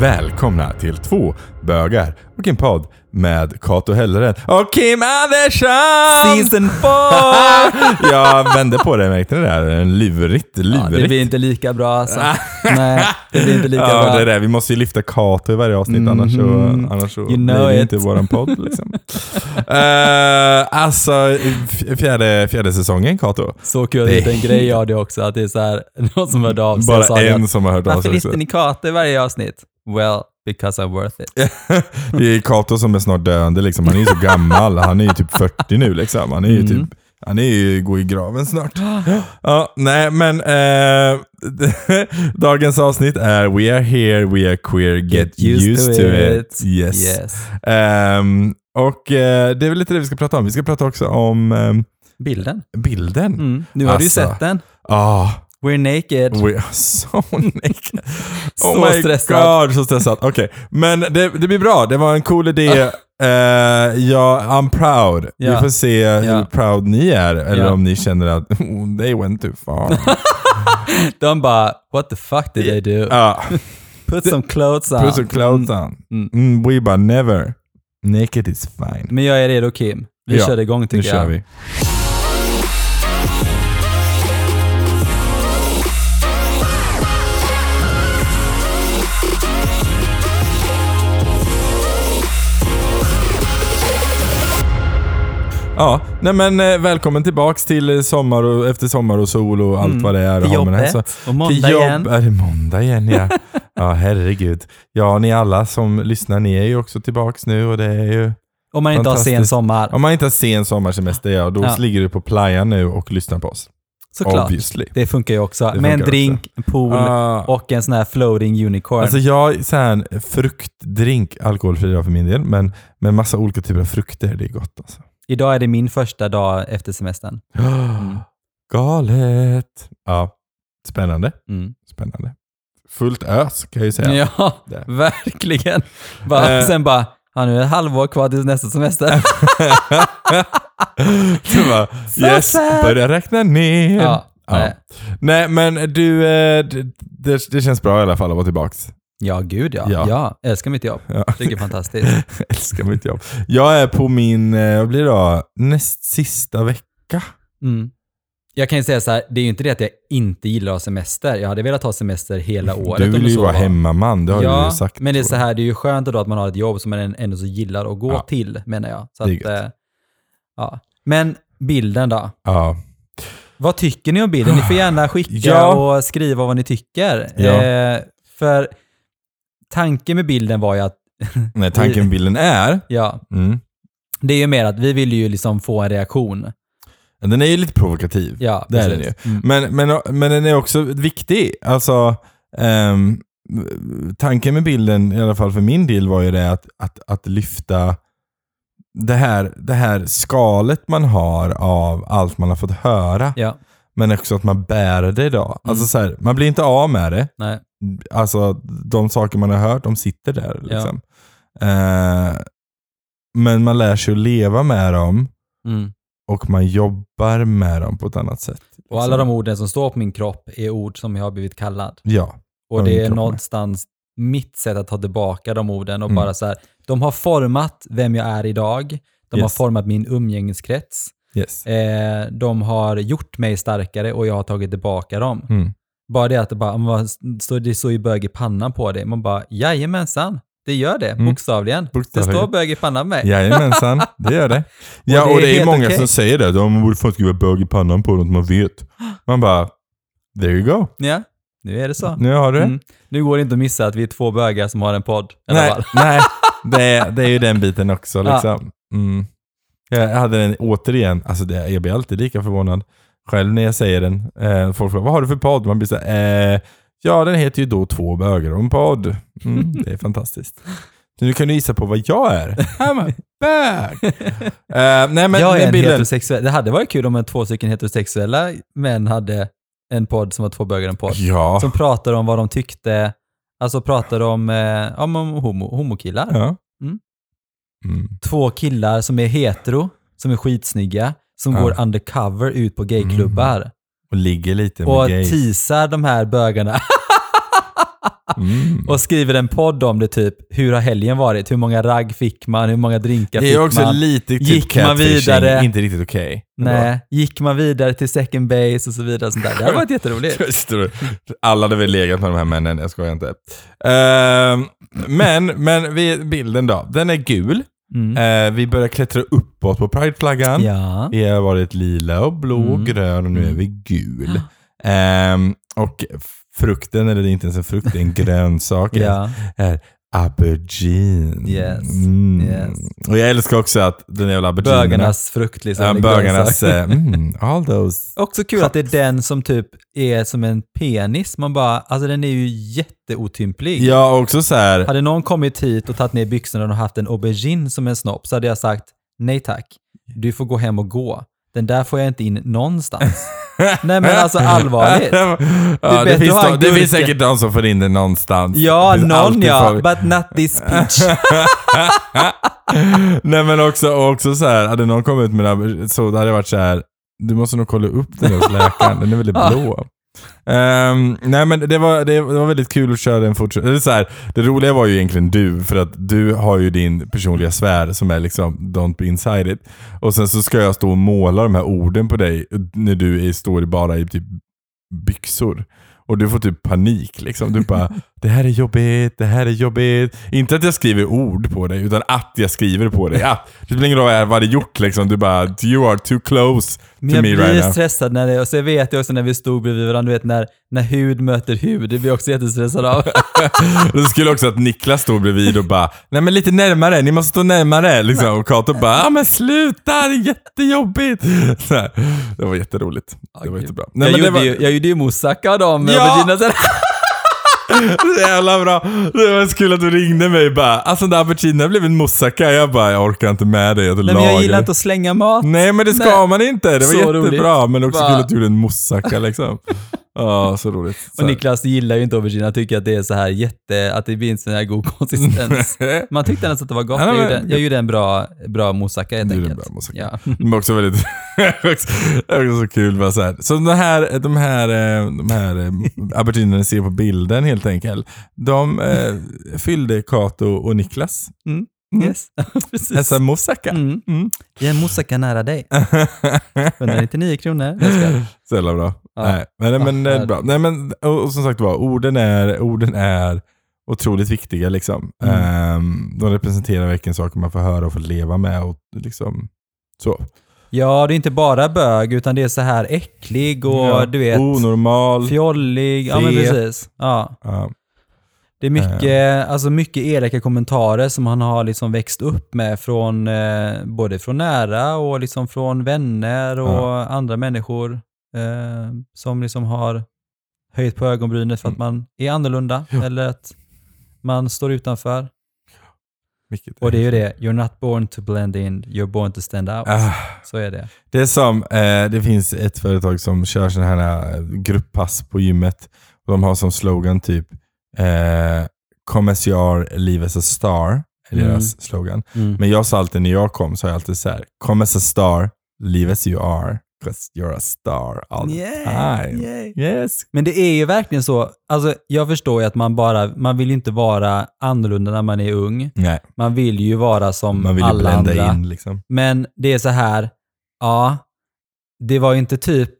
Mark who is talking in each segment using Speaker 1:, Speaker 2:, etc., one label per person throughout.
Speaker 1: Välkomna till två bögar och en podd med Kato Helleren och Kim Andersson!
Speaker 2: Season 4!
Speaker 1: Jag vände på det, märkte ni det? Här? En lurigt,
Speaker 2: Ja, det
Speaker 1: lurigt.
Speaker 2: blir inte lika bra alltså. Nej, det blir inte lika
Speaker 1: Ja,
Speaker 2: bra.
Speaker 1: det är det. Vi måste ju lyfta Kato i varje avsnitt, annars så, annars så
Speaker 2: Mhm. You know
Speaker 1: blir det
Speaker 2: it.
Speaker 1: inte våran podd. Liksom. Eh, alltså, f- fjärde, fjärde säsongen Kato.
Speaker 2: Så
Speaker 1: Det
Speaker 2: kul, det
Speaker 1: är
Speaker 2: är en grej jag hade också, att det är så här, någon som hörde av sig och sa
Speaker 1: Bara
Speaker 2: det att,
Speaker 1: en som har hört av
Speaker 2: Varför
Speaker 1: sig. också.
Speaker 2: visste ni Kato i varje avsnitt? Well, because I'm worth it.
Speaker 1: Det är Kato som är snart döende liksom. Han är ju så gammal. Han är ju typ 40 nu liksom. Han är ju typ han är ju, går i graven snart. Ja, nej, men eh, dagens avsnitt är We are here, we are queer, get, used, to, it. Yes.
Speaker 2: yes.
Speaker 1: Ehm, och eh, det är väl lite det vi ska prata om. Vi ska prata också om ehm,
Speaker 2: Bilden.
Speaker 1: bilden.
Speaker 2: Mm. Nu har du ju
Speaker 1: Alltså. Oh
Speaker 2: sett den.
Speaker 1: Ah,
Speaker 2: We're naked.
Speaker 1: we are so naked.
Speaker 2: Så stressad.
Speaker 1: Oh God, så stressad. Okej, men det, det blir bra. Det var en cool idé. Eh, ja, I'm proud. Vi
Speaker 2: Ah. Ja.
Speaker 1: får se hur
Speaker 2: Ja.
Speaker 1: proud ni är, eller
Speaker 2: Ja.
Speaker 1: om ni känner att oh, they went too far.
Speaker 2: De bara, what the fuck did they do?
Speaker 1: Ja,
Speaker 2: Put some clothes on.
Speaker 1: Put some clothes on.
Speaker 2: Mm.
Speaker 1: Mm, we bara never. Naked is fine.
Speaker 2: Men jag är redo Kim. Vi
Speaker 1: Ja,
Speaker 2: kör igång tycker
Speaker 1: Nu
Speaker 2: jag.
Speaker 1: kör vi. Ja, nej men eh, välkommen tillbaks till eh, sommar och efter sommar och sol och allt vad det är. och
Speaker 2: Till
Speaker 1: har med det här. Så-
Speaker 2: Mm. jobbet. Och måndag
Speaker 1: till jobb
Speaker 2: igen.
Speaker 1: är det måndag igen ja. ja, herregud. Ja, ni alla som lyssnar, ni är ju också tillbaks nu och det är ju...
Speaker 2: Om man inte har sen
Speaker 1: Fantastiskt.
Speaker 2: sommar.
Speaker 1: Om man inte har sen sommarsemester, ja, då
Speaker 2: Ja.
Speaker 1: ligger du på playa nu och lyssnar på oss.
Speaker 2: Såklart.
Speaker 1: Obviously.
Speaker 2: Det funkar ju också.
Speaker 1: funkar
Speaker 2: Med en
Speaker 1: också.
Speaker 2: drink, en pool
Speaker 1: Ah.
Speaker 2: och en sån här floating unicorn.
Speaker 1: Alltså jag, så här, en fruktdrink, alkoholfri då för min del, men med massa olika typer av frukter, det är gott alltså.
Speaker 2: Idag är det min första dag efter semestern.
Speaker 1: Galet! Ja, spännande.
Speaker 2: Mm.
Speaker 1: Spännande. Fullt ös kan jag ju säga.
Speaker 2: Ja,
Speaker 1: Det.
Speaker 2: verkligen. Bara,
Speaker 1: Eh.
Speaker 2: Sen bara, ja, nu är det halvår kvar till nästa semester.
Speaker 1: Så bara,
Speaker 2: Så
Speaker 1: yes,
Speaker 2: sad.
Speaker 1: börja räkna ner.
Speaker 2: ja,
Speaker 1: Ja.
Speaker 2: nej.
Speaker 1: Nej men du, eh, d- det, det känns bra i alla fall att vara tillbaks.
Speaker 2: ja gud ja.
Speaker 1: Ja.
Speaker 2: ja. älskar mitt jobb.
Speaker 1: Ja.
Speaker 2: Tycker det är fantastiskt.
Speaker 1: Älskar mitt jobb. Jag är på min, eh, vad blir det då, näst sista vecka.
Speaker 2: Mm. Jag kan ju säga så här, det är ju inte det att jag inte gillar att ha semester. Jag hade velat ha semester hela året.
Speaker 1: Du
Speaker 2: om
Speaker 1: vill
Speaker 2: det
Speaker 1: ju
Speaker 2: så
Speaker 1: vara
Speaker 2: var.
Speaker 1: hemmaman, det har du
Speaker 2: Ja,
Speaker 1: ju sagt.
Speaker 2: men det är så
Speaker 1: tror
Speaker 2: här, det är ju skönt då att man har ett jobb som man ändå så gillar att gå
Speaker 1: Ja.
Speaker 2: till, menar jag. Så
Speaker 1: Det
Speaker 2: att,
Speaker 1: är gött.
Speaker 2: eh, ja. Men bilden då?
Speaker 1: jag. Ja.
Speaker 2: Vad tycker ni om bilden? Ni får gärna skicka
Speaker 1: Ja.
Speaker 2: och skriva vad ni tycker.
Speaker 1: Ja.
Speaker 2: Eh, för tanken med bilden var ju att,
Speaker 1: Nej, tanken med bilden är,
Speaker 2: ja,
Speaker 1: mm,
Speaker 2: det är ju mer att vi vill ju liksom få en reaktion.
Speaker 1: den är ju lite provokativ.
Speaker 2: Ja,
Speaker 1: det är den
Speaker 2: precis.
Speaker 1: ju.
Speaker 2: Mm.
Speaker 1: Men, men, men den är också viktig. Alltså, ehm, tanken med bilden, i alla fall för min del, var ju det att, att, att lyfta det här, det här skalet man har av allt man har fått höra.
Speaker 2: Ja, Mm.
Speaker 1: Men också att man bär det idag. Alltså så här, man blir inte av med det.
Speaker 2: nej.
Speaker 1: Alltså de saker man har hört, de sitter där. Liksom. Eh, men man lär sig att leva med dem
Speaker 2: Mm.
Speaker 1: och man jobbar med dem på ett annat sätt. liksom.
Speaker 2: Och alla de orden som står på min kropp är ord som jag har blivit kallad.
Speaker 1: Ja,
Speaker 2: Och
Speaker 1: Ja, min
Speaker 2: det är
Speaker 1: kropp med.
Speaker 2: någonstans mitt sätt att ta tillbaka de orden och
Speaker 1: Mm.
Speaker 2: bara så här, de har format vem jag är idag, de har
Speaker 1: Yes.
Speaker 2: format min umgängeskrets,
Speaker 1: yes.
Speaker 2: eh, de har gjort mig starkare och jag har tagit tillbaka dem.
Speaker 1: Mm.
Speaker 2: Bara det att det, bara, man, står- det står ju bög i pannan på dig, man bara jajamensan, det gör det,
Speaker 1: Mm.
Speaker 2: bokstavligen. Det
Speaker 1: Bokstavligen.
Speaker 2: står bög i pannan på mig.
Speaker 1: Jajamensan, det gör det. Ja,
Speaker 2: det är
Speaker 1: och det är
Speaker 2: helt
Speaker 1: många
Speaker 2: okej.
Speaker 1: som säger det. De borde fan skriva bög i pannan på något man vet. Man bara, there you go.
Speaker 2: Ja, nu är det så.
Speaker 1: Nu har du det.
Speaker 2: Mm. Nu går det inte att missa att vi är två bögar som har en podd. i alla
Speaker 1: Nej,
Speaker 2: fall.
Speaker 1: nej det, är, det är ju den biten också.
Speaker 2: Ja.
Speaker 1: Liksom. Mm. Jag hade den återigen, alltså det, jag blir alltid lika förvånad själv när jag säger den. Eh, folk frågar, vad har du för podd? Man blir så här, eh, ja den heter ju då Två bögar och en podd. Mm, det är fantastiskt. Så nu kan du gissa på vad jag är. I'm a bög! Eh, nej men
Speaker 2: jag är
Speaker 1: den
Speaker 2: en
Speaker 1: bilden.
Speaker 2: heterosexuell. Det hade varit kul om en två stycken heterosexuella män hade en podd som var två bögar i en podd.
Speaker 1: Ja.
Speaker 2: Som pratar om vad de tyckte, alltså pratar om, eh, om, om homo, homokillar.
Speaker 1: ja.
Speaker 2: Mm.
Speaker 1: Mm.
Speaker 2: Två killar som är hetero, som är skitsnygga, som
Speaker 1: Ja. Mm.
Speaker 2: går undercover ut på gayklubbar
Speaker 1: Och ligger lite med
Speaker 2: och
Speaker 1: gays.
Speaker 2: teasar de här bögarna.
Speaker 1: Mm.
Speaker 2: Och skriver en podd om det, typ hur har helgen varit? Hur många ragg fick man? Hur många drinkar
Speaker 1: Det
Speaker 2: fick
Speaker 1: är också
Speaker 2: man?
Speaker 1: lite typ
Speaker 2: Gick man
Speaker 1: catfishing,
Speaker 2: vidare?
Speaker 1: Inte riktigt okej.
Speaker 2: Nej, gick man vidare till second base och så vidare. och Sånt där. Det hade varit jätteroligt.
Speaker 1: Just det. Alla hade väl legat med de här männen, jag skojar inte. Ehm, men, men vi, bilden då. Den är gul.
Speaker 2: Mm.
Speaker 1: Eh, vi börjar klättra uppåt på prideflaggan.
Speaker 2: Ja.
Speaker 1: Vi har varit lila och blå och
Speaker 2: Mm.
Speaker 1: grön och nu är vi gul. Ehm, och frukten, eller det är inte ens en frukt, det är en grönsak.
Speaker 2: ja.
Speaker 1: Är aubergine.
Speaker 2: Yes.
Speaker 1: Mm.
Speaker 2: Yes.
Speaker 1: Och jag älskar också att den jävla auberginen.
Speaker 2: Bögarnas frukt liksom.
Speaker 1: Ja,
Speaker 2: eller grönsak.
Speaker 1: bögarnas eh, mm, all those.
Speaker 2: Också kul att det är den som typ är som en penis. Man bara, alltså den är ju jätteotymplig.
Speaker 1: Ja, också så här.
Speaker 2: Hade någon kommit hit och tagit ner byxorna och haft en aubergine som en snopp så hade jag sagt nej tack. Du får gå hem och gå. Den där får jag inte in någonstans. nej men alltså allvarligt.
Speaker 1: ja, det,
Speaker 2: bättre
Speaker 1: finns,
Speaker 2: att ha en
Speaker 1: de, det finns
Speaker 2: gurka.
Speaker 1: säkert de som får in det någonstans.
Speaker 2: Ja,
Speaker 1: Det finns
Speaker 2: någon
Speaker 1: alltid
Speaker 2: ja,
Speaker 1: folk.
Speaker 2: but not this pitch.
Speaker 1: Nej men också, och också så här, hade någon kommit med det här, så det hade varit så här. du måste nog kolla upp den där hos läkaren, den är väldigt blå. Ehm, nej men det var, det var väldigt kul att köra den fortsatt. Eller så här, det roliga var ju egentligen du, för att du har ju din personliga sfär som är liksom don't be inside it. Och sen så ska jag stå och måla de här orden på dig när du är, står i bara i typ byxor. Och du får typ panik liksom. Du bara, det här är jobbigt, det här är jobbigt. Inte att jag skriver ord på dig, utan att jag skriver på dig. Att, det spelar ingen roll vad det gjort liksom. Du bara, you are too close
Speaker 2: Men
Speaker 1: to
Speaker 2: jag
Speaker 1: me right
Speaker 2: blir
Speaker 1: now.
Speaker 2: stressad när det, och så vet jag också när vi stod bredvid varandra, du vet när, när hud möter hud, det blir jag också jättestressad av.
Speaker 1: Det skulle också att Niklas stod bredvid och bara, nej men lite närmare, ni måste stå närmare. Liksom. Och Kato bara, ja men sluta, det är jättejobbigt. Så här. Det var jätteroligt. Det var jättebra. Nej,
Speaker 2: jag,
Speaker 1: men det
Speaker 2: gjorde
Speaker 1: var-
Speaker 2: ju, jag gjorde ju moussaka av dem.
Speaker 1: Ja!
Speaker 2: Ja! Dina,
Speaker 1: Så jävla bra. Det var så kul att du ringde mig bara, alltså den där auberginen blev en moussaka. Jag bara, jag orkar inte med det. Jag
Speaker 2: nej, men jag gillar inte att slänga mat.
Speaker 1: Nej men det ska
Speaker 2: Nej.
Speaker 1: man inte. Det var
Speaker 2: Så
Speaker 1: jättebra. Men också
Speaker 2: Bara-
Speaker 1: kul att du gjorde en moussaka liksom. Ja, så roligt. Så
Speaker 2: Och
Speaker 1: här.
Speaker 2: Niklas gillar ju inte aubergine, han tycker att det är så här jätte, att det blir en sån här god konsistens. Man tyckte nästan att det var gott.
Speaker 1: Ja,
Speaker 2: Jag
Speaker 1: men-
Speaker 2: gjorde, jag gjorde en bra, bra moussaka helt
Speaker 1: Du gjorde en
Speaker 2: enkelt.
Speaker 1: bra moussaka.
Speaker 2: Ja.
Speaker 1: Men också väldigt... det var också så kul bara så här. Så de här, de här, eh, de här eh, auberginerna ni ser på bilden helt enkelt. De eh, fyllde Kato och Niklas. Mm.
Speaker 2: Yes. Precis.
Speaker 1: Dessa moussaka.
Speaker 2: Mm.
Speaker 1: Mm.
Speaker 2: Jag är en moussaka nära dig. 199 kronor. Jag ska-
Speaker 1: Så jävla bra.
Speaker 2: Ja. Ah,
Speaker 1: Nej, men, men, det är
Speaker 2: här-
Speaker 1: bra. Nej, men och, och som sagt var, orden är, orden är otroligt viktiga. Liksom.
Speaker 2: Mm.
Speaker 1: Ehm, de representerar verkligen saker man får höra och får leva med. Och, liksom, så.
Speaker 2: Ja, det är inte bara bög, utan det är så här äcklig och
Speaker 1: Ja.
Speaker 2: du vet,
Speaker 1: Onormal.
Speaker 2: fjollig. Ja, men
Speaker 1: Fet.
Speaker 2: precis. Ja.
Speaker 1: Ja.
Speaker 2: Det är mycket, alltså mycket elaka kommentarer som han har liksom växt upp med, från, eh, både från nära och liksom från vänner och
Speaker 1: Ja.
Speaker 2: andra människor eh, som liksom har höjt på ögonbrynet för att man är annorlunda eller att man står utanför.
Speaker 1: Vilket
Speaker 2: Och det är ju det, you're not born to blend in, you're born to stand out.
Speaker 1: Ah.
Speaker 2: Så är det.
Speaker 1: Det är som, eh, det finns ett företag som kör sådana här eh, grupppass på gymmet. Och de har som slogan typ eh, Come as you are, live as a star. Är
Speaker 2: Mm.
Speaker 1: deras slogan. Men jag sa alltid när jag kom, så har jag alltid så här, Come as a star, live as you are. Because you're a star all the
Speaker 2: Yay,
Speaker 1: time.
Speaker 2: yay.
Speaker 1: Yes.
Speaker 2: Men det är ju verkligen så, alltså jag förstår ju att man bara, man vill ju inte vara annorlunda när man är ung.
Speaker 1: Nej,
Speaker 2: Man vill ju vara som
Speaker 1: man vill ju
Speaker 2: alla
Speaker 1: blända
Speaker 2: andra.
Speaker 1: in liksom.
Speaker 2: Men det är så här, ja, det var ju inte typ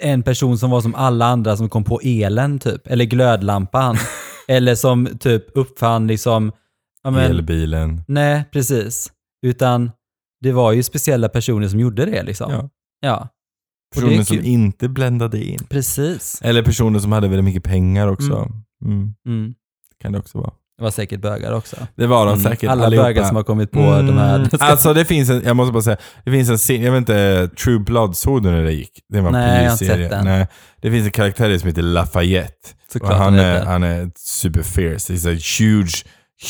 Speaker 2: en person som var som alla andra som kom på elen typ, eller glödlampan. eller som typ uppfann liksom, ja men,
Speaker 1: Elbilen.
Speaker 2: nej precis. Utan det var ju speciella personer som gjorde det liksom.
Speaker 1: Ja.
Speaker 2: ja det är
Speaker 1: Personer som
Speaker 2: kul.
Speaker 1: inte bländade in.
Speaker 2: precis.
Speaker 1: Eller personer som hade väldigt mycket pengar också. Mm.
Speaker 2: Mm.
Speaker 1: Kan det också vara.
Speaker 2: Det var säkert bögar också.
Speaker 1: Det var de
Speaker 2: Mm.
Speaker 1: säkert
Speaker 2: Alla
Speaker 1: allihopa.
Speaker 2: bögar som har kommit på
Speaker 1: Mm,
Speaker 2: de här...
Speaker 1: Alltså det finns en, jag måste bara säga, det finns en scen, jag vet inte, True Blood såg du när det gick? Det var en
Speaker 2: Nej, jag har inte
Speaker 1: vampyrserie.
Speaker 2: sett den.
Speaker 1: Nej, eh, det finns en karaktär som heter Lafayette. Och
Speaker 2: Såklart
Speaker 1: han,
Speaker 2: de
Speaker 1: är,
Speaker 2: heter.
Speaker 1: han är super fierce. He's a huge,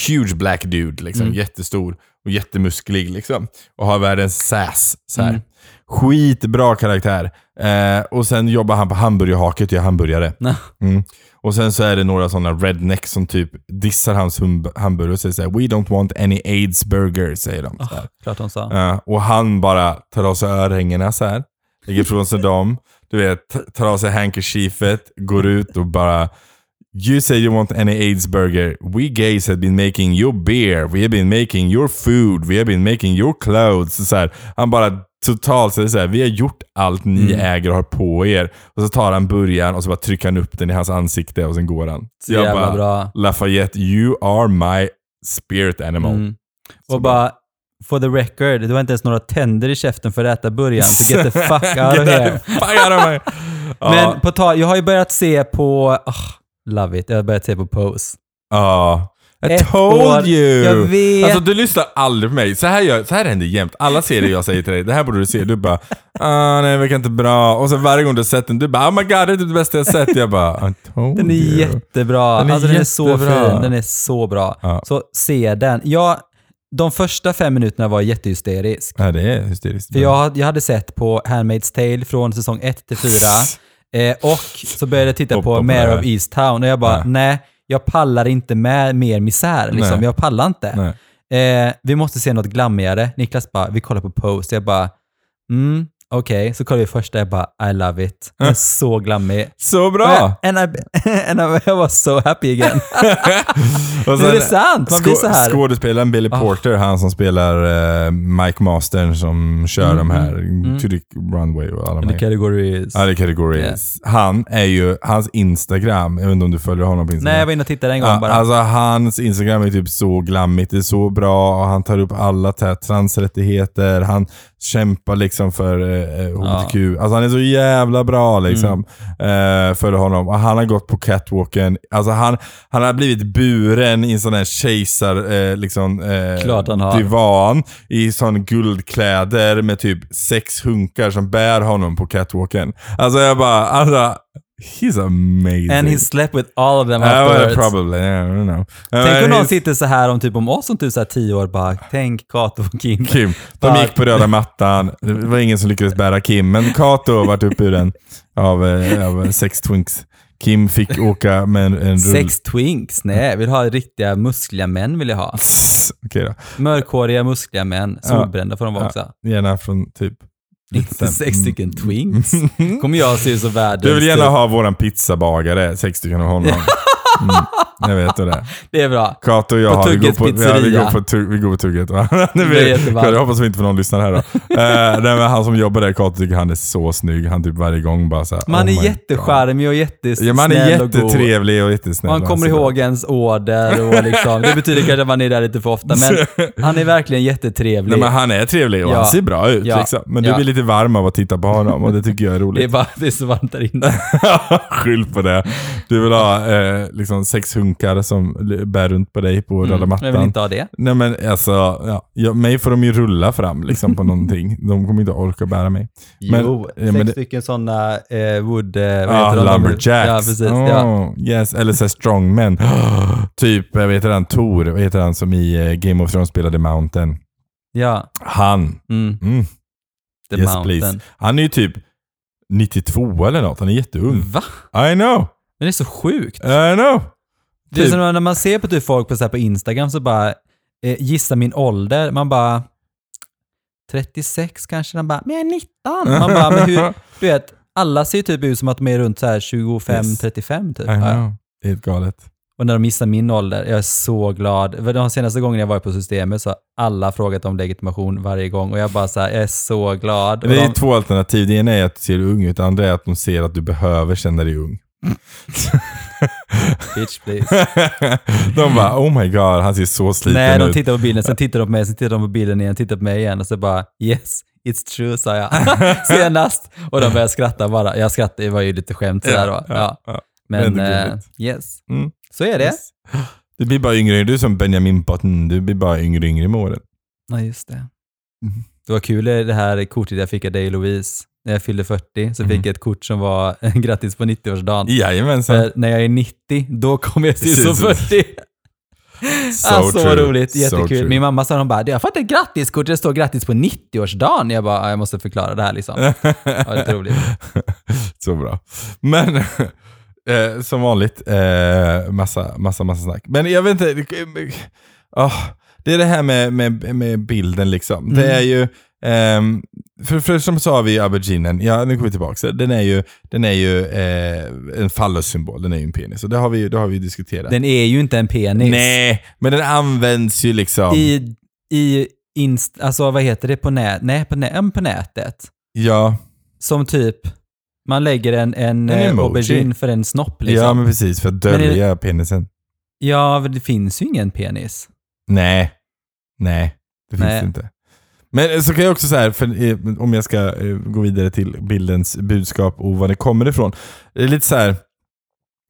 Speaker 1: huge black dude. Liksom.
Speaker 2: Mm.
Speaker 1: Jättestor och jättemusklig. Liksom. Och har världens sass. Så här.
Speaker 2: Mm.
Speaker 1: Skitbra karaktär. Eh, och sen jobbar han på hamburgerhaket och gör hamburgare.
Speaker 2: Nej.
Speaker 1: Mm. Och sen så är det några sådana rednecks som typ dissar hans hum- hamburgare och säger såhär “We don't want any aids burger” säger de. Så här.
Speaker 2: Klart de sa.
Speaker 1: Ja, Eh, och han bara tar av sig örhängena så här. Lägger ifrån sig dem. Du vet, t- tar av sig handkerchiefet, går ut och bara You say you want any AIDS burger. We gays have been making your beer. We have been making your food. We have been making your clothes. Så här, han bara totalt säger så här, vi har gjort allt ni
Speaker 2: Mm.
Speaker 1: äger och har på er. Och så tar han burgaren och så bara trycker han upp den i hans ansikte och sen går han.
Speaker 2: Så jävla bra.
Speaker 1: Lafayette, you are my spirit animal.
Speaker 2: Mm. Och bara, for the record, du har inte ens några tänder i käften för att äta burgaren. So get the fuck out of
Speaker 1: Get the
Speaker 2: here.
Speaker 1: fuck out of my- Ja.
Speaker 2: Men på tal, jag har ju börjat se på... ah, love it. Jag har börjat se på Pose.
Speaker 1: Ja. I
Speaker 2: Ett
Speaker 1: told
Speaker 2: år.
Speaker 1: you!
Speaker 2: Jag vet.
Speaker 1: Alltså du lyssnar aldrig på mig. Så här, gör, så här händer jämt. Alla serier jag säger till dig, det här borde du se. Du bara, ah, nej det verkar inte bra. Och sen varje gång du har sett den, du bara, oh my god, det är typ det bästa jag sett. Jag bara, I told
Speaker 2: Den är
Speaker 1: you.
Speaker 2: jättebra.
Speaker 1: Den är
Speaker 2: alltså, den är så
Speaker 1: jättebra.
Speaker 2: fin. Den är så bra.
Speaker 1: Ja.
Speaker 2: Så se den. Jag, de första fem minuterna var jag jättehysterisk.
Speaker 1: Ja, det är hysteriskt.
Speaker 2: För jag, jag hade sett på Handmaid's Tale från säsong 1 till 4. Eh, och så började jag titta
Speaker 1: Och
Speaker 2: på
Speaker 1: de
Speaker 2: Mare
Speaker 1: här.
Speaker 2: of Easttown och jag bara,
Speaker 1: Ja.
Speaker 2: nej, jag pallar inte med mer misär. Liksom.
Speaker 1: Nej.
Speaker 2: Jag pallar inte.
Speaker 1: Nej.
Speaker 2: Eh, vi måste se något glammigare. Niklas bara, vi kollar på Post. Jag bara, mm, okej. Så kollar vi första, jag bara, I love it. Den är så glammig.
Speaker 1: Så
Speaker 2: Och
Speaker 1: Äh. bra!
Speaker 2: jag- And I, and I, I was so happy again.
Speaker 1: Och
Speaker 2: Men
Speaker 1: sen-
Speaker 2: det är sant, man blir
Speaker 1: skå-
Speaker 2: så här. Ah.
Speaker 1: Skådespelaren Billy Porter, han som spelar eh, Mike Mastern som kör
Speaker 2: Mm,
Speaker 1: de här, To the Runway och alla de här.
Speaker 2: The category is...
Speaker 1: Ja, det är kategori.
Speaker 2: Ja.
Speaker 1: Han är ju, hans Instagram, jag vet inte om du följer honom på Instagram.
Speaker 2: Nej, jag var inne och tittade en gång
Speaker 1: Ja,
Speaker 2: bara.
Speaker 1: Alltså hans Instagram är typ så glammigt, det är så bra och han tar upp alla t- här transrättigheter, han kämpar liksom för eh, eh, HBTQ. Alltså han är så jävla bra liksom
Speaker 2: Mm.
Speaker 1: eh, för honom. Och han har gått på catwalken, alltså han, han har blivit buren i en sån här kejsar, eh, liksom, eh,
Speaker 2: Klart han har.
Speaker 1: divan i sån guldkläder med typ sex hunkar som bär honom på catwalken. Alltså jag bara, alltså he's amazing.
Speaker 2: And he slept with all of them
Speaker 1: Ja, well,
Speaker 2: afterwards.
Speaker 1: probably. Yeah, I don't know.
Speaker 2: Tänk om
Speaker 1: Men
Speaker 2: någon
Speaker 1: he's-
Speaker 2: sitter så här om typ om oss om typ så här tio år bara, tänk Kato och Kim.
Speaker 1: Kim. De gick på röda mattan. Det var ingen som lyckades bära Kim, men Kato vart uppburen av, eh, av sex twinks. Kim fick åka med en, en rull...
Speaker 2: Sex twinks? Nej, vill ha riktiga muskliga män vill jag ha.
Speaker 1: Okej då.
Speaker 2: Mörkhåriga muskliga män, solbrända får de vara också.
Speaker 1: Gärna från typ...
Speaker 2: Inte sex stycken twinks. Kommer jag se ut som världens...
Speaker 1: Mm. Du vill gärna
Speaker 2: typ.
Speaker 1: ha våran pizzabagare, sex stycken av honom. Mm, jag vet hur det är.
Speaker 2: typ. Det är bra.
Speaker 1: Kato och jag,
Speaker 2: På
Speaker 1: har- vi, går
Speaker 2: Tuggets
Speaker 1: på, ja, vi, går
Speaker 2: pizzeria.
Speaker 1: på, tu- vi går på Tugget. va? Nu
Speaker 2: Det är
Speaker 1: vet-
Speaker 2: jättevarmt.
Speaker 1: jag hoppas vi inte får någon lyssnar här då. Eh, nej, men han som jobbar där, Kato, tycker han är så snygg. Han typ varje gång bara såhär...
Speaker 2: Man
Speaker 1: oh my
Speaker 2: är
Speaker 1: God.
Speaker 2: jättecharmig och jättesnäll
Speaker 1: Ja, man är
Speaker 2: och god.
Speaker 1: jättetrevlig och jättesnäll.
Speaker 2: Man kommer
Speaker 1: Alltså,
Speaker 2: ihåg ens order och liksom, det betyder kanske att man är där lite för ofta, men han är verkligen jättetrevlig.
Speaker 1: Nej, men han är trevlig och
Speaker 2: Ja.
Speaker 1: han ser bra ut.
Speaker 2: Ja.
Speaker 1: Liksom. Men
Speaker 2: Ja.
Speaker 1: du blir lite varm av att titta på honom och det tycker jag är
Speaker 2: Det är
Speaker 1: roligt.
Speaker 2: bara det är så varmt där inne.
Speaker 1: Skyll på det. Du vill ha eh, liksom sex hunkar som l- bär runt på dig på röda
Speaker 2: Mm, Jag vill
Speaker 1: mattan.
Speaker 2: inte ha det.
Speaker 1: Nej men alltså, ja. ja, mig får de ju rulla fram liksom på någonting. De kommer inte orka bära mig. Men-
Speaker 2: jo,
Speaker 1: ja,
Speaker 2: sex
Speaker 1: men det-
Speaker 2: stycken sådana eh, wood... Eh, vad
Speaker 1: Ah,
Speaker 2: heter de?
Speaker 1: lumberjacks.
Speaker 2: Ja, precis.
Speaker 1: Oh,
Speaker 2: Ja.
Speaker 1: Yes, eller så här strongmen. typ, vad heter han? Tor, vad heter han som i eh, Game of Thrones spelade Mountain?
Speaker 2: ja.
Speaker 1: Han.
Speaker 2: Mm.
Speaker 1: Mm.
Speaker 2: The
Speaker 1: yes,
Speaker 2: Mountain.
Speaker 1: please. Han är ju typ 92 eller något. Han är jätteung.
Speaker 2: Va?
Speaker 1: I know!
Speaker 2: Men det är så sjukt.
Speaker 1: I know!
Speaker 2: Det är
Speaker 1: Typ.
Speaker 2: som när man ser på typ folk på, så här, på Instagram så bara, eh, gissa min ålder, man bara 36 kanske, de bara, men jag är 19. Man bara, men hur, du vet, alla ser ju typ ut som att de är runt så här 25-35 typ.
Speaker 1: I know. Det är helt galet.
Speaker 2: Och när de gissar min ålder, jag är så glad. För de senaste gången jag var på systemet så har alla frågat om legitimation varje gång och jag bara så här, jag är så glad. Och
Speaker 1: Det är
Speaker 2: de,
Speaker 1: två alternativ. Det ena är att du ser ung ut, det andra är att de ser att du behöver känna dig ung.
Speaker 2: bitch please.
Speaker 1: de bara oh my god, han ser så sliten
Speaker 2: Nej, de
Speaker 1: ut.
Speaker 2: tittar på bilden, sen tittar de på mig, sen tittar de på bilden igen, tittar på mig igen och så bara yes, it's true sa jag senast. Och de började skratta bara. Jag skrattade, det var ju lite skämt sådär då. Ja.
Speaker 1: ja.
Speaker 2: Men
Speaker 1: Men det är
Speaker 2: eh,
Speaker 1: gulligt.
Speaker 2: yes,
Speaker 1: Mm.
Speaker 2: så är det.
Speaker 1: Yes. Du blir bara yngre, du är som Benjamin Button, du blir bara yngre yngre med åren.
Speaker 2: Ja, just det.
Speaker 1: Mm-hmm.
Speaker 2: Det var kul i det här kortet jag fick av dig Louise. När jag fyllde 40
Speaker 1: Mm-hmm.
Speaker 2: så fick jag ett kort som var grattis på 90-årsdagen.
Speaker 1: Jajamensan.
Speaker 2: För när jag är 90, då kommer jag se ut som
Speaker 1: Precis.
Speaker 2: 40.
Speaker 1: So
Speaker 2: alltså vad
Speaker 1: true.
Speaker 2: roligt,
Speaker 1: So
Speaker 2: jättekul.
Speaker 1: true.
Speaker 2: Min mamma sa, hon bara, jag har fått ett grattiskort där det står grattis på 90-årsdagen. Jag bara, "Ja, jag måste förklara det här liksom. Ja, det är roligt.
Speaker 1: Så bra. Men eh, som vanligt, eh, massa, massa, massa snack. Men jag vet inte, eh, det-
Speaker 2: Mm.
Speaker 1: ah, det är det här med, med, med bilden liksom. Det är ju, ehm, för, för som sa vi auberginen, ja nu kommer vi tillbaka, den är ju, den är ju eh, en fallossymbol, den är ju en penis. Och det har vi ju det har vi ju diskuterat.
Speaker 2: Den är ju inte en penis.
Speaker 1: Nej, men den används ju liksom.
Speaker 2: I, i inst, alltså vad heter det på nät, nej, på, nä, ja, men på nätet.
Speaker 1: ja,
Speaker 2: Som typ, man lägger en,
Speaker 1: En
Speaker 2: en, eh,
Speaker 1: emoji.
Speaker 2: aubergine för en snopp liksom.
Speaker 1: ja,
Speaker 2: Ja,
Speaker 1: men precis. För att dölja penisen.
Speaker 2: men det finns ju ingen penis.
Speaker 1: Nej. Nej, det finns
Speaker 2: Nej.
Speaker 1: det inte. Men eh, så kan jag också säga, för, eh, om jag ska eh, gå vidare till bildens budskap och var det kommer ifrån. Det är lite så här.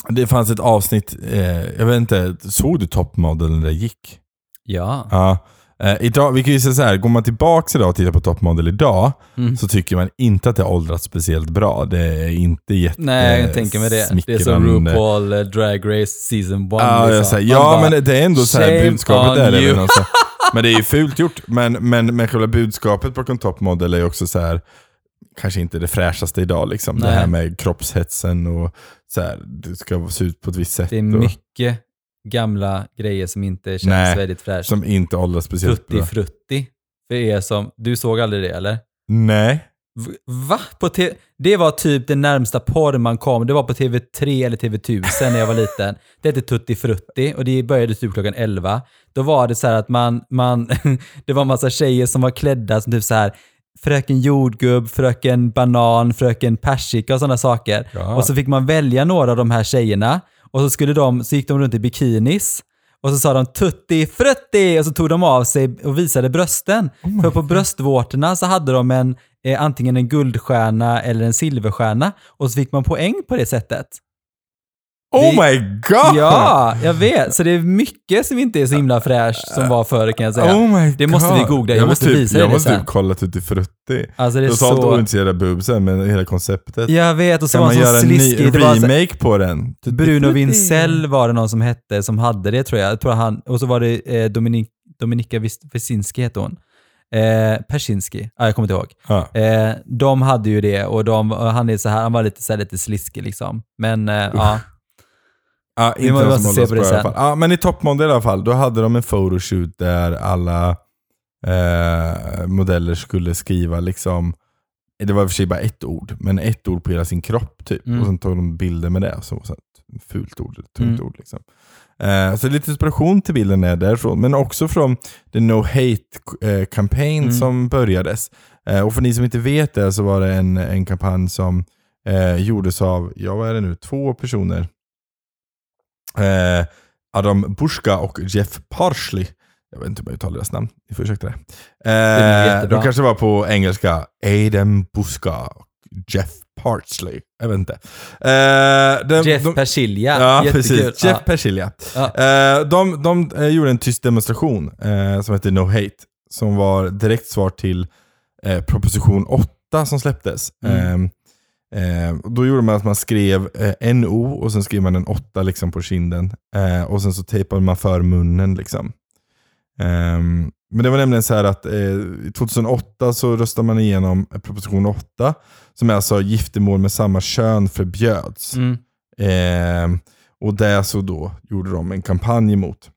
Speaker 1: Det fanns ett avsnitt, eh, jag vet inte, såg du Top Model när det gick?
Speaker 2: Ja.
Speaker 1: Ja. Eh, idag, vi kan ju säga så här, går man tillbaka idag och tittar på Top Model idag
Speaker 2: Mm.
Speaker 1: så tycker man inte att det har åldrats speciellt bra. Det är inte jätte
Speaker 2: Nej, jag tänker mig det. Det är som
Speaker 1: Eh, smickrande.
Speaker 2: RuPaul eh, Drag Race Season liksom. 1.
Speaker 1: Ja, jag säger, ja men det är ändå så här
Speaker 2: shame
Speaker 1: budskapet
Speaker 2: on
Speaker 1: där. är
Speaker 2: you.
Speaker 1: väl någon så här- Men det är ju fult gjort. Men, men, men själva budskapet bakom Top Model är ju också så här kanske inte det fräschaste idag liksom. Det
Speaker 2: Nej.
Speaker 1: här med kroppshetsen och så här, du ska se ut på ett visst sätt.
Speaker 2: det är
Speaker 1: och,
Speaker 2: mycket gamla grejer som inte känns
Speaker 1: Nej,
Speaker 2: väldigt fräscht.
Speaker 1: som inte åldras speciellt
Speaker 2: Frutti
Speaker 1: bra.
Speaker 2: frutti. För er som, du såg aldrig det eller?
Speaker 1: Nej.
Speaker 2: V- Va? På te- det var typ det närmsta porr man kom. Det var på TV3 eller TV1000 när jag var liten. Det hette Tutti Frutti och det började typ klockan 11. Då var det så här att man, man det var en massa tjejer som var klädda som typ så här fröken jordgubb, fröken banan, fröken persika och sådana saker.
Speaker 1: Ja.
Speaker 2: Och så fick man välja några av de här tjejerna och så, skulle de, så gick de runt i bikinis och så sa de tutti frutti och så tog de av sig och visade brösten.
Speaker 1: Oh
Speaker 2: För på bröstvårtorna så hade de en, eh, antingen en guldstjärna eller en silverstjärna och så fick man poäng på det sättet.
Speaker 1: Oh
Speaker 2: Vi-
Speaker 1: my god!
Speaker 2: Ja, jag vet. Så det är mycket som inte är så himla fräscht som var förr kan jag säga.
Speaker 1: Oh my
Speaker 2: Det måste
Speaker 1: God.
Speaker 2: vi googla. Jag måste
Speaker 1: typ,
Speaker 2: visa dig
Speaker 1: Jag
Speaker 2: det
Speaker 1: måste
Speaker 2: sen.
Speaker 1: typ kolla Tutti Frutti.
Speaker 2: Alltså det är
Speaker 1: Totalt
Speaker 2: så...
Speaker 1: ointresserad av boobsen, men hela konceptet.
Speaker 2: Jag vet och så
Speaker 1: Kan
Speaker 2: var
Speaker 1: man
Speaker 2: det
Speaker 1: göra
Speaker 2: så
Speaker 1: en ny
Speaker 2: sliskig. Det var så,
Speaker 1: remake på den? Tutti
Speaker 2: Bruno
Speaker 1: Frutti.
Speaker 2: Vincell var det någon som hette som hade det tror jag. jag tror han, och så var det eh, Dominik, Dominika Vis- Vesinski hette hon. Eh, Persinski, ah, jag kommer inte ihåg.
Speaker 1: Ja.
Speaker 2: Eh, de hade ju det och, de, och han, är så här, han var lite, så här, lite sliskig liksom. Men eh, ja,
Speaker 1: Ja,
Speaker 2: Vi
Speaker 1: inte
Speaker 2: måste
Speaker 1: de som
Speaker 2: se
Speaker 1: håller oss
Speaker 2: på det
Speaker 1: bra i alla
Speaker 2: sen.
Speaker 1: fall. Ja, men i toppmodell i alla fall, då hade de en photoshoot där alla eh, modeller skulle skriva liksom, det var i och för sig bara ett ord, men ett ord på hela sin kropp typ.
Speaker 2: Mm.
Speaker 1: Och sen tog de bilder med det, som var så här ett fult ord, ett tungt
Speaker 2: Mm.
Speaker 1: ord liksom. Eh, så lite inspiration till bilden är därifrån, men också från the No Hate-kampanj
Speaker 2: Mm.
Speaker 1: som börjades. Eh, och för ni som inte vet det så var det en, en kampanj som eh, gjordes av, ja vad är det nu, två personer. Eh, Adam Burska och Jeff Parsley. Jag vet inte hur man uttalar deras namn, ni får ursäkta det.
Speaker 2: är
Speaker 1: Eh,
Speaker 2: jättebra.
Speaker 1: de kanske var på engelska, Adam Burska och Jeff Parsley. Jag vet inte. Eh, de-
Speaker 2: Jeff
Speaker 1: de-
Speaker 2: Persilja,
Speaker 1: Ja,
Speaker 2: jättekul.
Speaker 1: precis. Jeff Persilja.
Speaker 2: Ja.
Speaker 1: Eh, de de eh, gjorde en tyst demonstration eh, som hette No Hate, som var direkt svar till eh, proposition 8 som släpptes.
Speaker 2: Mm.
Speaker 1: Eh, eh, då gjorde man att man skrev eh, NO och sen skrev man en 8 liksom, på kinden. Eh, och sen så tejpade man för munnen. Liksom. Ehm, men det var nämligen så här att eh, 2008 så röstade man igenom proposition 8, som är alltså giftermål med samma kön förbjöds.
Speaker 2: ja. Mm.
Speaker 1: Eh, och där så då gjorde de en kampanj emot.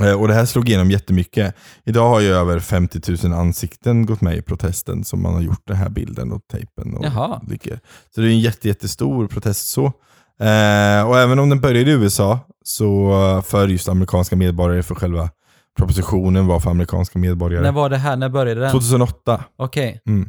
Speaker 1: Eh, och det här slog igenom jättemycket. Idag har ju över 50 000 ansikten gått med i protesten som man har gjort den här bilden och tejpen. Och
Speaker 2: Jaha.
Speaker 1: Ligger. Så det är en jätte, jättestor protest så. Eh, och även om den började i USA, så för just amerikanska medborgare, för själva propositionen var för amerikanska
Speaker 2: När
Speaker 1: medborgare.
Speaker 2: var det här? När började den?
Speaker 1: 2008.
Speaker 2: Okej.
Speaker 1: Mm.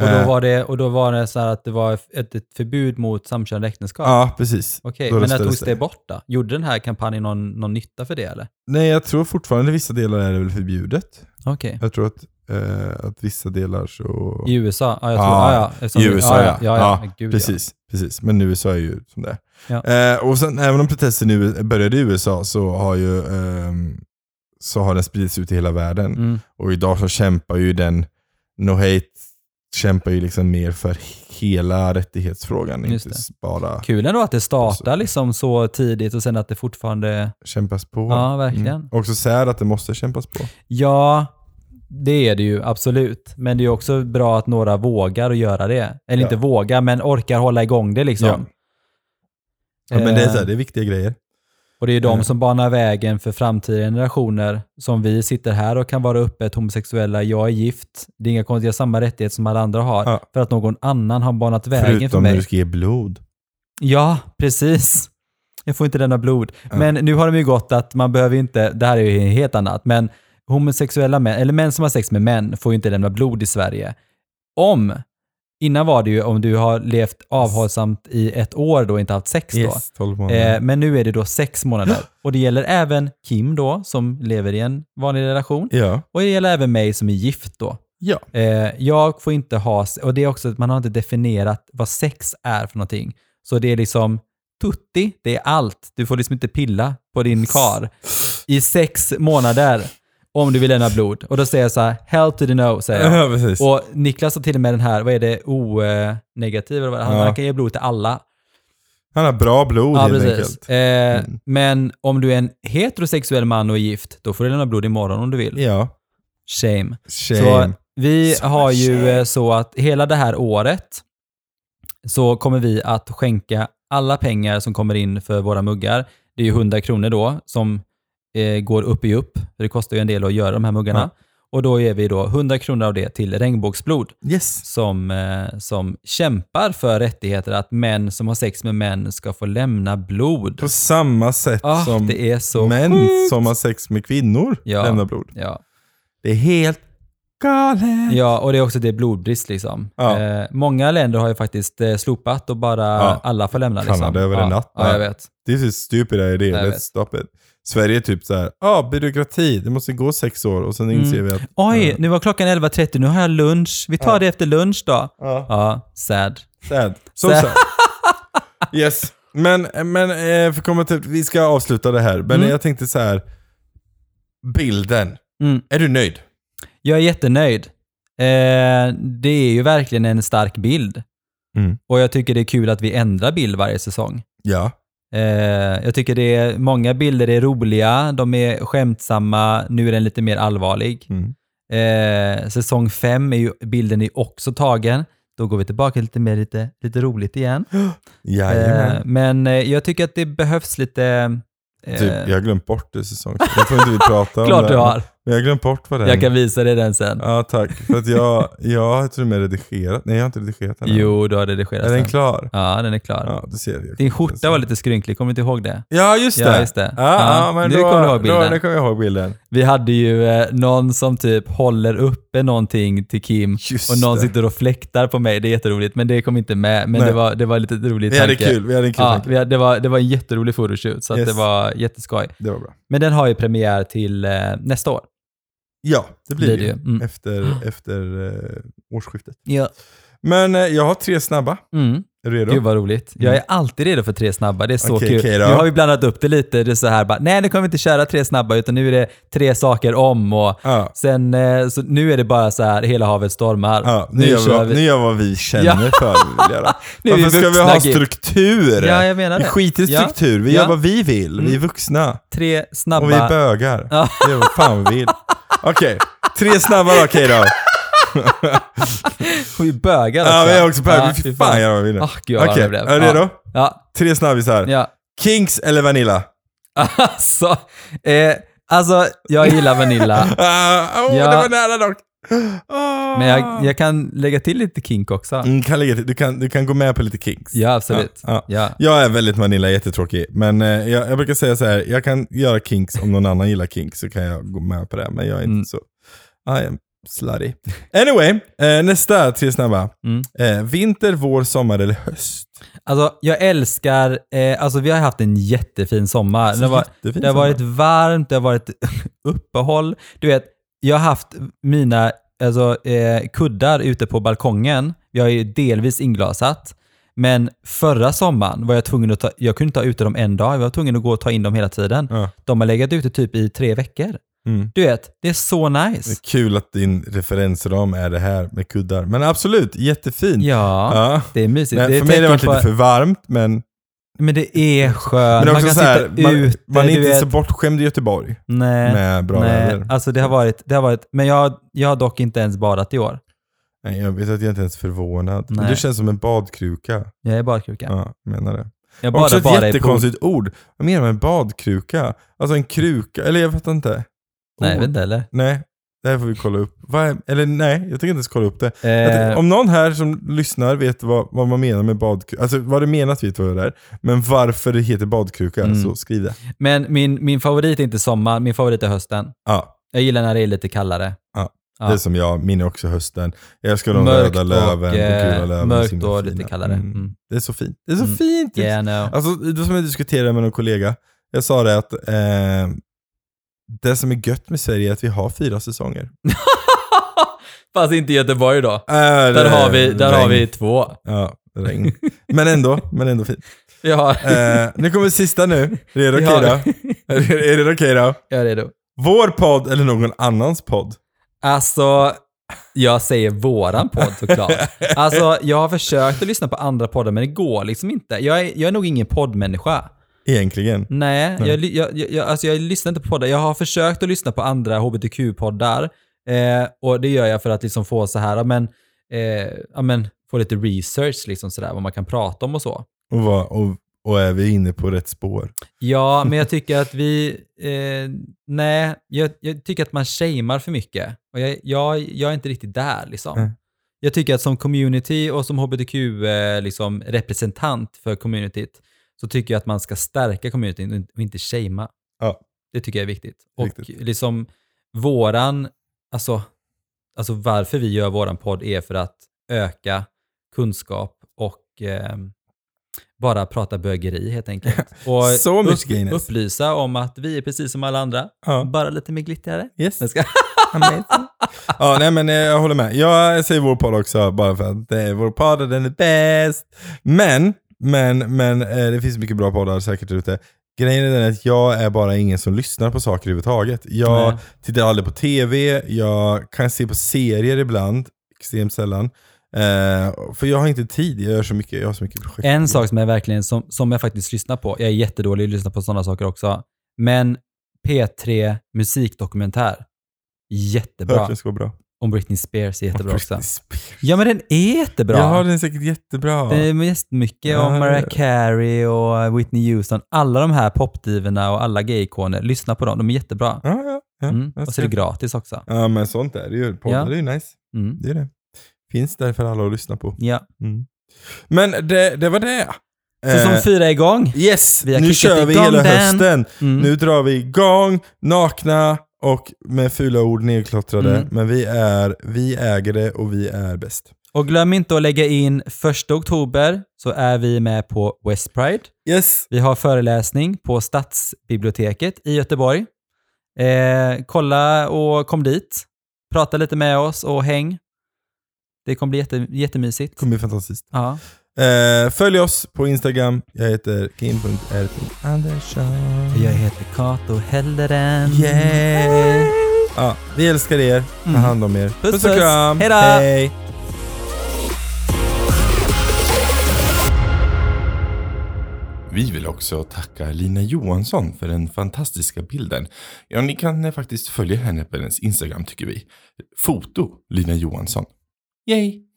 Speaker 2: Och då
Speaker 1: Eh,
Speaker 2: var det, och då var det så här att det var ett, ett förbud mot samkönade äktenskap?
Speaker 1: Ja, precis.
Speaker 2: Okej,
Speaker 1: Då
Speaker 2: men när
Speaker 1: röstades
Speaker 2: togs
Speaker 1: det.
Speaker 2: det bort då? Gjorde den här kampanjen någon, någon nytta för det eller?
Speaker 1: Nej, jag tror fortfarande vissa delar är det väl förbjudet.
Speaker 2: Okej.
Speaker 1: Jag tror att, eh, att vissa delar så...
Speaker 2: I USA? Ja, jag
Speaker 1: Ja,
Speaker 2: tror, ja, ja. Eftersom-
Speaker 1: I USA,
Speaker 2: ja. ja, ja. Men Gud,
Speaker 1: precis, precis. Men USA är ju som det
Speaker 2: Ja.
Speaker 1: är. Eh, och sen, även om protesten nu började i USA så har ju ehm, så har den spridits ut i hela världen.
Speaker 2: Ja. Mm.
Speaker 1: Och idag så kämpar ju den, No Hate kämpar ju liksom mer för hela rättighetsfrågan.
Speaker 2: Just
Speaker 1: Inte
Speaker 2: det.
Speaker 1: bara
Speaker 2: Kul ändå att det startar
Speaker 1: Precis.
Speaker 2: liksom så tidigt och sen att det fortfarande...
Speaker 1: kämpas på.
Speaker 2: Ja, verkligen.
Speaker 1: Mm. Också sär att det måste kämpas på.
Speaker 2: Ja, det är det ju absolut. Men det är ju också bra att några vågar att göra det. Eller
Speaker 1: Ja.
Speaker 2: inte vågar, men orkar hålla igång det liksom.
Speaker 1: Ja. Ja, men det är, så här,
Speaker 2: Eh,
Speaker 1: det är viktiga grejer.
Speaker 2: Och det är de
Speaker 1: Mm.
Speaker 2: som banar vägen för framtida generationer som vi sitter här och kan vara öppet homosexuella. Jag är gift. Det är inga konstigt. Jag har samma rättighet som alla andra har.
Speaker 1: Ja.
Speaker 2: För att någon annan har banat vägen för
Speaker 1: Förutom
Speaker 2: mig.
Speaker 1: när du ska ge blod.
Speaker 2: Ja, precis. Jag får inte lämna blod.
Speaker 1: Ja.
Speaker 2: Men nu har de ju gått att man behöver inte, det här är ju helt annat, men homosexuella män, eller män som har sex med män får ju inte lämna blod i Sverige. Om, innan var det ju om du har levt avhållsamt i ett år då och inte haft sex
Speaker 1: Yes, 12
Speaker 2: då.
Speaker 1: månader.
Speaker 2: Eh, men nu är det då sex månader. Och det gäller även Kim då, som lever i en vanlig relation.
Speaker 1: ja.
Speaker 2: Och det gäller även mig som är gift då.
Speaker 1: Ja.
Speaker 2: Eh, jag får inte ha, och det är också att man har inte definierat vad sex är för någonting. Så det är liksom tutti, det är allt. Du får liksom inte pilla på din kar i sex månader om du vill lämna blod. Och då säger jag så här, hell to the no, säger jag.
Speaker 1: Ja, precis.
Speaker 2: Och Niklas har till och med den här, vad är det, O-negativ eller vad det är? Han,
Speaker 1: Ja.
Speaker 2: han kan ge blod till alla.
Speaker 1: Han har bra blod
Speaker 2: Ja,
Speaker 1: helt
Speaker 2: precis.
Speaker 1: enkelt. Mm.
Speaker 2: Eh, Men om du är en heterosexuell man och är gift, då får du lämna blod imorgon om du vill.
Speaker 1: Ja.
Speaker 2: Shame.
Speaker 1: Shame.
Speaker 2: Så vi
Speaker 1: Så
Speaker 2: har ju
Speaker 1: shame.
Speaker 2: eh, så att hela det här året så kommer vi att skänka alla pengar som kommer in för våra muggar. Det är ju 100 kronor då som eh, går upp i upp. För det kostar ju en del att göra de här muggarna.
Speaker 1: Ja.
Speaker 2: Och då ger vi då 100 kronor av det till Regnbågsblod
Speaker 1: Yes.
Speaker 2: som, eh, som kämpar för rättigheter att män som har sex med män ska få lämna blod.
Speaker 1: På samma sätt
Speaker 2: Ah,
Speaker 1: som
Speaker 2: det är så
Speaker 1: män
Speaker 2: sjukt.
Speaker 1: som har sex med kvinnor
Speaker 2: Ja.
Speaker 1: lämnar blod.
Speaker 2: Ja.
Speaker 1: Det är helt galet.
Speaker 2: Ja, och det är också det blodbrist liksom.
Speaker 1: Ja.
Speaker 2: Eh, många länder har ju faktiskt eh, slopat och bara
Speaker 1: Ja.
Speaker 2: alla får lämna. Liksom.
Speaker 1: Kanada över
Speaker 2: ja.
Speaker 1: en natt,
Speaker 2: Ja,
Speaker 1: va?
Speaker 2: jag vet.
Speaker 1: This is stupid idea,
Speaker 2: Jag
Speaker 1: let's
Speaker 2: vet.
Speaker 1: stop it. Sverige är typ så här, ja ah, byråkrati, det måste gå sex år och sen
Speaker 2: Mm.
Speaker 1: inser vi att...
Speaker 2: Oj,
Speaker 1: Ja.
Speaker 2: nu var klockan 11.30, nu har jag lunch. Vi tar det efter lunch då.
Speaker 1: Ja.
Speaker 2: Ja, sad.
Speaker 1: "Ah, Sad. So
Speaker 2: Sad.
Speaker 1: sad. Yes. Men, men eh, för att komma till, vi ska avsluta det här, men
Speaker 2: Mm.
Speaker 1: jag tänkte så här. Bilden.
Speaker 2: Mm.
Speaker 1: Är du nöjd?
Speaker 2: Jag är jättenöjd. Eh, det är ju verkligen en stark bild.
Speaker 1: Mm.
Speaker 2: Och jag tycker det är kul att vi ändrar bild varje säsong.
Speaker 1: Ja.
Speaker 2: Eh, jag tycker det är, många bilder är roliga, de är skämtsamma, nu är den lite mer allvarlig.
Speaker 1: Mm.
Speaker 2: Eh, säsong fem är ju, bilden är också tagen. Då går vi tillbaka lite mer lite, lite roligt igen.
Speaker 1: Jajamän.
Speaker 2: Eh, men eh, jag tycker att det behövs lite... Eh,
Speaker 1: Typ, jag har glömt bort det säsong. Jag tror inte vi pratar om
Speaker 2: klart
Speaker 1: det.
Speaker 2: du har.
Speaker 1: Men jag har glömt bort vad det är.
Speaker 2: Jag kan visa dig den sen.
Speaker 1: Ja, tack. För att jag, jag har till och med redigerat. Nej, jag har inte redigerat den. än.
Speaker 2: Jo, du har redigerat
Speaker 1: Är den
Speaker 2: den.
Speaker 1: klar?
Speaker 2: Ja, den är klar.
Speaker 1: Ja, du ser. Jag
Speaker 2: Din skjorta var lite skrynklig, kommer du inte ihåg det?
Speaker 1: Ja, just det.
Speaker 2: Ja, just det.
Speaker 1: Ja, ja,
Speaker 2: Ja,
Speaker 1: men
Speaker 2: nu
Speaker 1: då,
Speaker 2: kommer du ihåg
Speaker 1: Då,
Speaker 2: bilden.
Speaker 1: nu kommer jag ihåg bilden.
Speaker 2: Vi hade ju eh, någon som typ håller uppe någonting till Kim
Speaker 1: Just
Speaker 2: och någon
Speaker 1: det.
Speaker 2: sitter och fläktar på mig. Det är jätteroligt, men det kom inte med. Men
Speaker 1: Nej.
Speaker 2: det var, det var lite roligt
Speaker 1: Vi hade kul. Vi hade en kul
Speaker 2: Ja,
Speaker 1: tanke.
Speaker 2: vi hade, det, var, det var en jätterolig photoshoot, så att
Speaker 1: Yes.
Speaker 2: det var jätteskoj.
Speaker 1: Det var bra.
Speaker 2: Men den har ju premiär till eh, nästa år.
Speaker 1: Ja, det blir
Speaker 2: Blir
Speaker 1: det
Speaker 2: det
Speaker 1: ju.
Speaker 2: ju. Mm.
Speaker 1: Efter, efter eh, årsskiftet.
Speaker 2: Ja.
Speaker 1: Men eh, jag har tre snabba.
Speaker 2: Mm.
Speaker 1: Är du redo?
Speaker 2: Gud vad roligt. Jag är alltid redo för tre snabba, det är så
Speaker 1: Mm. Okej,
Speaker 2: kul.
Speaker 1: okej
Speaker 2: nu
Speaker 1: då.
Speaker 2: har vi blandat upp det lite, det är så här bara, nej nu kommer vi inte köra tre snabba, utan nu är det tre saker om och
Speaker 1: Ja.
Speaker 2: sen, eh, så nu är det bara så här, hela havet stormar.
Speaker 1: Ja, nu, gör vi, vad- nu gör vad vi känner
Speaker 2: Ja.
Speaker 1: för. vi vill göra.
Speaker 2: Nu är vi
Speaker 1: Varför ska vi
Speaker 2: vuxna,
Speaker 1: ha
Speaker 2: Gud.
Speaker 1: struktur?
Speaker 2: Ja, jag menar
Speaker 1: vi
Speaker 2: det.
Speaker 1: skiter i
Speaker 2: Ja.
Speaker 1: struktur. Vi
Speaker 2: Ja.
Speaker 1: gör vad vi vill. Vi är vuxna.
Speaker 2: Tre snabba.
Speaker 1: Och vi är bögar.
Speaker 2: Ja.
Speaker 1: Det är vad fan vi vill. Okej, tre snabba då. Okej då.
Speaker 2: vi är bögar
Speaker 1: Ja,
Speaker 2: också.
Speaker 1: vi är också bögar. Vi får fan göra vad vi vill.
Speaker 2: Ah, gud, vad
Speaker 1: Okej,
Speaker 2: det blev.
Speaker 1: är du
Speaker 2: Ja.
Speaker 1: redo?
Speaker 2: Ja,
Speaker 1: Tre snabbisar.
Speaker 2: ja.
Speaker 1: Kinks eller Vanilla?
Speaker 2: Alltså, eh, alltså, jag gillar Vanilla.
Speaker 1: Ah, oh,
Speaker 2: Ja.
Speaker 1: Det var nära dock. Ah.
Speaker 2: Men jag, jag kan lägga till lite kink också.
Speaker 1: Mm, kan lägga till. Du, kan, du kan gå med på lite Kinks.
Speaker 2: Ja, absolut.
Speaker 1: Ja, ja.
Speaker 2: Ja, ja.
Speaker 1: Jag är väldigt Vanilla, jättetråkig. Men eh, jag, jag brukar säga så här, jag kan göra kinks om någon annan gillar kinks så kan jag gå med på det. Men jag är inte
Speaker 2: Mm.
Speaker 1: så... I am slutty. Anyway, eh, nästa tre snabba.
Speaker 2: Mm.
Speaker 1: Eh, vinter, vår, sommar eller höst?
Speaker 2: Alltså, jag älskar, eh, alltså vi har haft en jättefin sommar. Det, var,
Speaker 1: Jättefin
Speaker 2: det har
Speaker 1: sommar.
Speaker 2: varit varmt, det har varit uppehåll. Du vet, jag har haft mina alltså, eh, kuddar ute på balkongen. Jag är ju delvis inglasat. Men förra sommaren var jag tvungen att ta, jag kunde inte ha ute dem en dag, jag var tvungen att gå och ta in dem hela tiden.
Speaker 1: Ja.
Speaker 2: De har legat ute typ i tre veckor.
Speaker 1: Mm.
Speaker 2: Du vet, det är så nice.
Speaker 1: Det är kul att din referensram är det här med kuddar. Men absolut, jättefint.
Speaker 2: Ja,
Speaker 1: Ja.
Speaker 2: det är mysigt.
Speaker 1: Nej,
Speaker 2: det är
Speaker 1: för mig har det varit
Speaker 2: tecken på-
Speaker 1: lite för varmt, men,
Speaker 2: Men det är skönt.
Speaker 1: men
Speaker 2: man
Speaker 1: också
Speaker 2: kan
Speaker 1: så här,
Speaker 2: sitta
Speaker 1: man,
Speaker 2: ute.
Speaker 1: man är
Speaker 2: du
Speaker 1: inte
Speaker 2: vet.
Speaker 1: så bortskämd i Göteborg
Speaker 2: Nej. Nej.
Speaker 1: med bra väder.
Speaker 2: Alltså det har varit, det har varit men jag, jag har dock inte ens badat i år.
Speaker 1: Nej, jag vet att jag inte ens är förvånad. Men
Speaker 2: Nej.
Speaker 1: Du känns som en badkruka.
Speaker 2: Jag är badkruka.
Speaker 1: Ja, menar det.
Speaker 2: Jag
Speaker 1: Också ett
Speaker 2: badar i pool.
Speaker 1: jättekonstigt ord. Vad menar man med badkruka? Alltså en kruka, eller jag fattar inte.
Speaker 2: Nej, jag
Speaker 1: Ord.
Speaker 2: vet inte heller.
Speaker 1: Nej, det här får vi kolla upp. Vad är, eller nej, jag tänker inte ens kolla upp det. Jag tänker,
Speaker 2: Eh,
Speaker 1: om någon här som lyssnar vet vad, vad man menar med badkruka, alltså vad det menas vet vad det är, men varför det heter badkruka,
Speaker 2: Mm.
Speaker 1: så skriv det.
Speaker 2: men min, min favorit är inte sommar, min favorit är hösten.
Speaker 1: Ja,
Speaker 2: Jag gillar när det är lite kallare. Ja.
Speaker 1: det är som jag minner också hösten. Jag älskar de
Speaker 2: Mörkt
Speaker 1: röda löven,
Speaker 2: och,
Speaker 1: de gula
Speaker 2: eh,
Speaker 1: löven.
Speaker 2: mörkt
Speaker 1: så himla
Speaker 2: och
Speaker 1: fina.
Speaker 2: lite kallare.
Speaker 1: Mm.
Speaker 2: Mm.
Speaker 1: Det är så fint. Det är så
Speaker 2: Mm.
Speaker 1: fint!
Speaker 2: Yeah, I know.
Speaker 1: Alltså, det var som jag diskuterade med någon kollega. Jag sa det att eh, det som är gött med Sverige är att vi har fyra säsonger.
Speaker 2: Fast inte i Göteborg då.
Speaker 1: Äh,
Speaker 2: Där, har vi, där har vi två.
Speaker 1: Ja, regn. Men ändå, men ändå fint.
Speaker 2: Vi har...
Speaker 1: Eh, nu kommer sista nu. Är det okej
Speaker 2: vi har-
Speaker 1: då? Är det- Är det okej då?
Speaker 2: Jag är redo.
Speaker 1: Vår podd eller någon annans podd?
Speaker 2: Alltså, jag säger våran podd såklart. Alltså, jag har försökt att lyssna på andra poddar, men det går liksom inte. Jag är, jag är nog ingen poddmänniska.
Speaker 1: Egentligen.
Speaker 2: Nej,
Speaker 1: Nej.
Speaker 2: Jag, ly- jag, jag, jag- alltså jag lyssnar inte på poddar. Jag har försökt att lyssna på andra hbtq-poddar. Eh, och det gör jag för att liksom få så här, ja, men, eh, ja, men, få lite research, liksom så där, vad man kan prata om och så.
Speaker 1: Och, vad- och, och är vi inne på rätt spår?
Speaker 2: Ja, men jag tycker att vi... Eh, nej, jag, jag tycker att man shamear för mycket. Och jag, jag, jag är inte riktigt där liksom.
Speaker 1: Nej.
Speaker 2: Jag tycker att som community och som hbtq-representant eh, liksom, representant för communityt så tycker jag att man ska stärka communityn och in- och inte shamea.
Speaker 1: Ja.
Speaker 2: Det tycker jag är viktigt. Och
Speaker 1: Riktigt.
Speaker 2: liksom våran... Alltså, alltså varför vi gör våran podd är för att öka kunskap och ehm, bara prata bögeri helt enkelt. Och
Speaker 1: Så mycket grejer.
Speaker 2: upplysa om att vi är precis som alla andra,
Speaker 1: Ja.
Speaker 2: bara lite mer glittrigare.
Speaker 1: Yes.
Speaker 2: Jag ska-
Speaker 1: ja, nej men eh, jag håller med. Jag säger vår podd också bara för att det är vår podd och den är bäst. Men, men, men eh, det finns mycket bra poddar säkert ute. Grejen är den att jag är bara ingen som lyssnar på saker överhuvudtaget. Jag
Speaker 2: Nej.
Speaker 1: tittar aldrig på tv, jag kan se på serier ibland, extremt sällan. Eh, för jag har inte tid, jag gör så mycket, jag har så mycket projekt.
Speaker 2: En sak som jag verkligen som, som jag faktiskt lyssnar på, jag är jättedålig att lyssna på sådana saker också, men P3 musikdokumentär, jättebra.
Speaker 1: Hört den ska vara bra.
Speaker 2: Om Britney Spears är jättebra också.
Speaker 1: Britney Spears.
Speaker 2: Ja men den är jättebra.
Speaker 1: Ja, den är säkert jättebra.
Speaker 2: Det är jättemycket
Speaker 1: Ja,
Speaker 2: om Mariah
Speaker 1: det-
Speaker 2: Carey och Whitney Houston. Alla de här popdivorna och alla gayikoner, lyssna på dem. De är jättebra.
Speaker 1: Ja, ja, ja.
Speaker 2: Mm.
Speaker 1: jag
Speaker 2: Och så är det
Speaker 1: ser.
Speaker 2: gratis också.
Speaker 1: Ja, men sånt är det ju. Poddar
Speaker 2: Ja.
Speaker 1: är ju nice.
Speaker 2: Mm.
Speaker 1: Det är det. Finns där för alla att lyssna på.
Speaker 2: Ja.
Speaker 1: Men det, det var det.
Speaker 2: Säsong
Speaker 1: Eh,
Speaker 2: fyra är igång.
Speaker 1: yes,
Speaker 2: Vi har
Speaker 1: nu
Speaker 2: kickat
Speaker 1: kör vi
Speaker 2: igång
Speaker 1: hela
Speaker 2: den.
Speaker 1: hösten.
Speaker 2: Mm.
Speaker 1: Nu drar vi igång, nakna och med fula ord nedklottrade.
Speaker 2: Mm.
Speaker 1: Men vi, är, vi äger det och vi är bäst.
Speaker 2: Och glöm inte att lägga in 1 oktober så är vi med på West Pride.
Speaker 1: Yes,
Speaker 2: Vi har föreläsning på Stadsbiblioteket i Göteborg. Eh, kolla och kom dit. Prata lite med oss och häng. Det kommer bli jätte,
Speaker 1: det
Speaker 2: jättemysigt.
Speaker 1: kommer bli fantastiskt.
Speaker 2: Ja.
Speaker 1: Eh, följ oss på Instagram. Jag heter kim.r.andersson.
Speaker 2: Jag heter Kato Helleren.
Speaker 1: Yeah! Ja, vi älskar er. Ta
Speaker 2: Mm.
Speaker 1: hand om er.
Speaker 2: Puss,
Speaker 1: Puss och
Speaker 2: puss.
Speaker 1: kram.
Speaker 2: Hej då.
Speaker 1: Hej. Vi vill också tacka Lina Johansson för den fantastiska bilden. Ja, ni kan eh, faktiskt följa henne på hennes Instagram tycker vi. Foto Lina Johansson. Yay!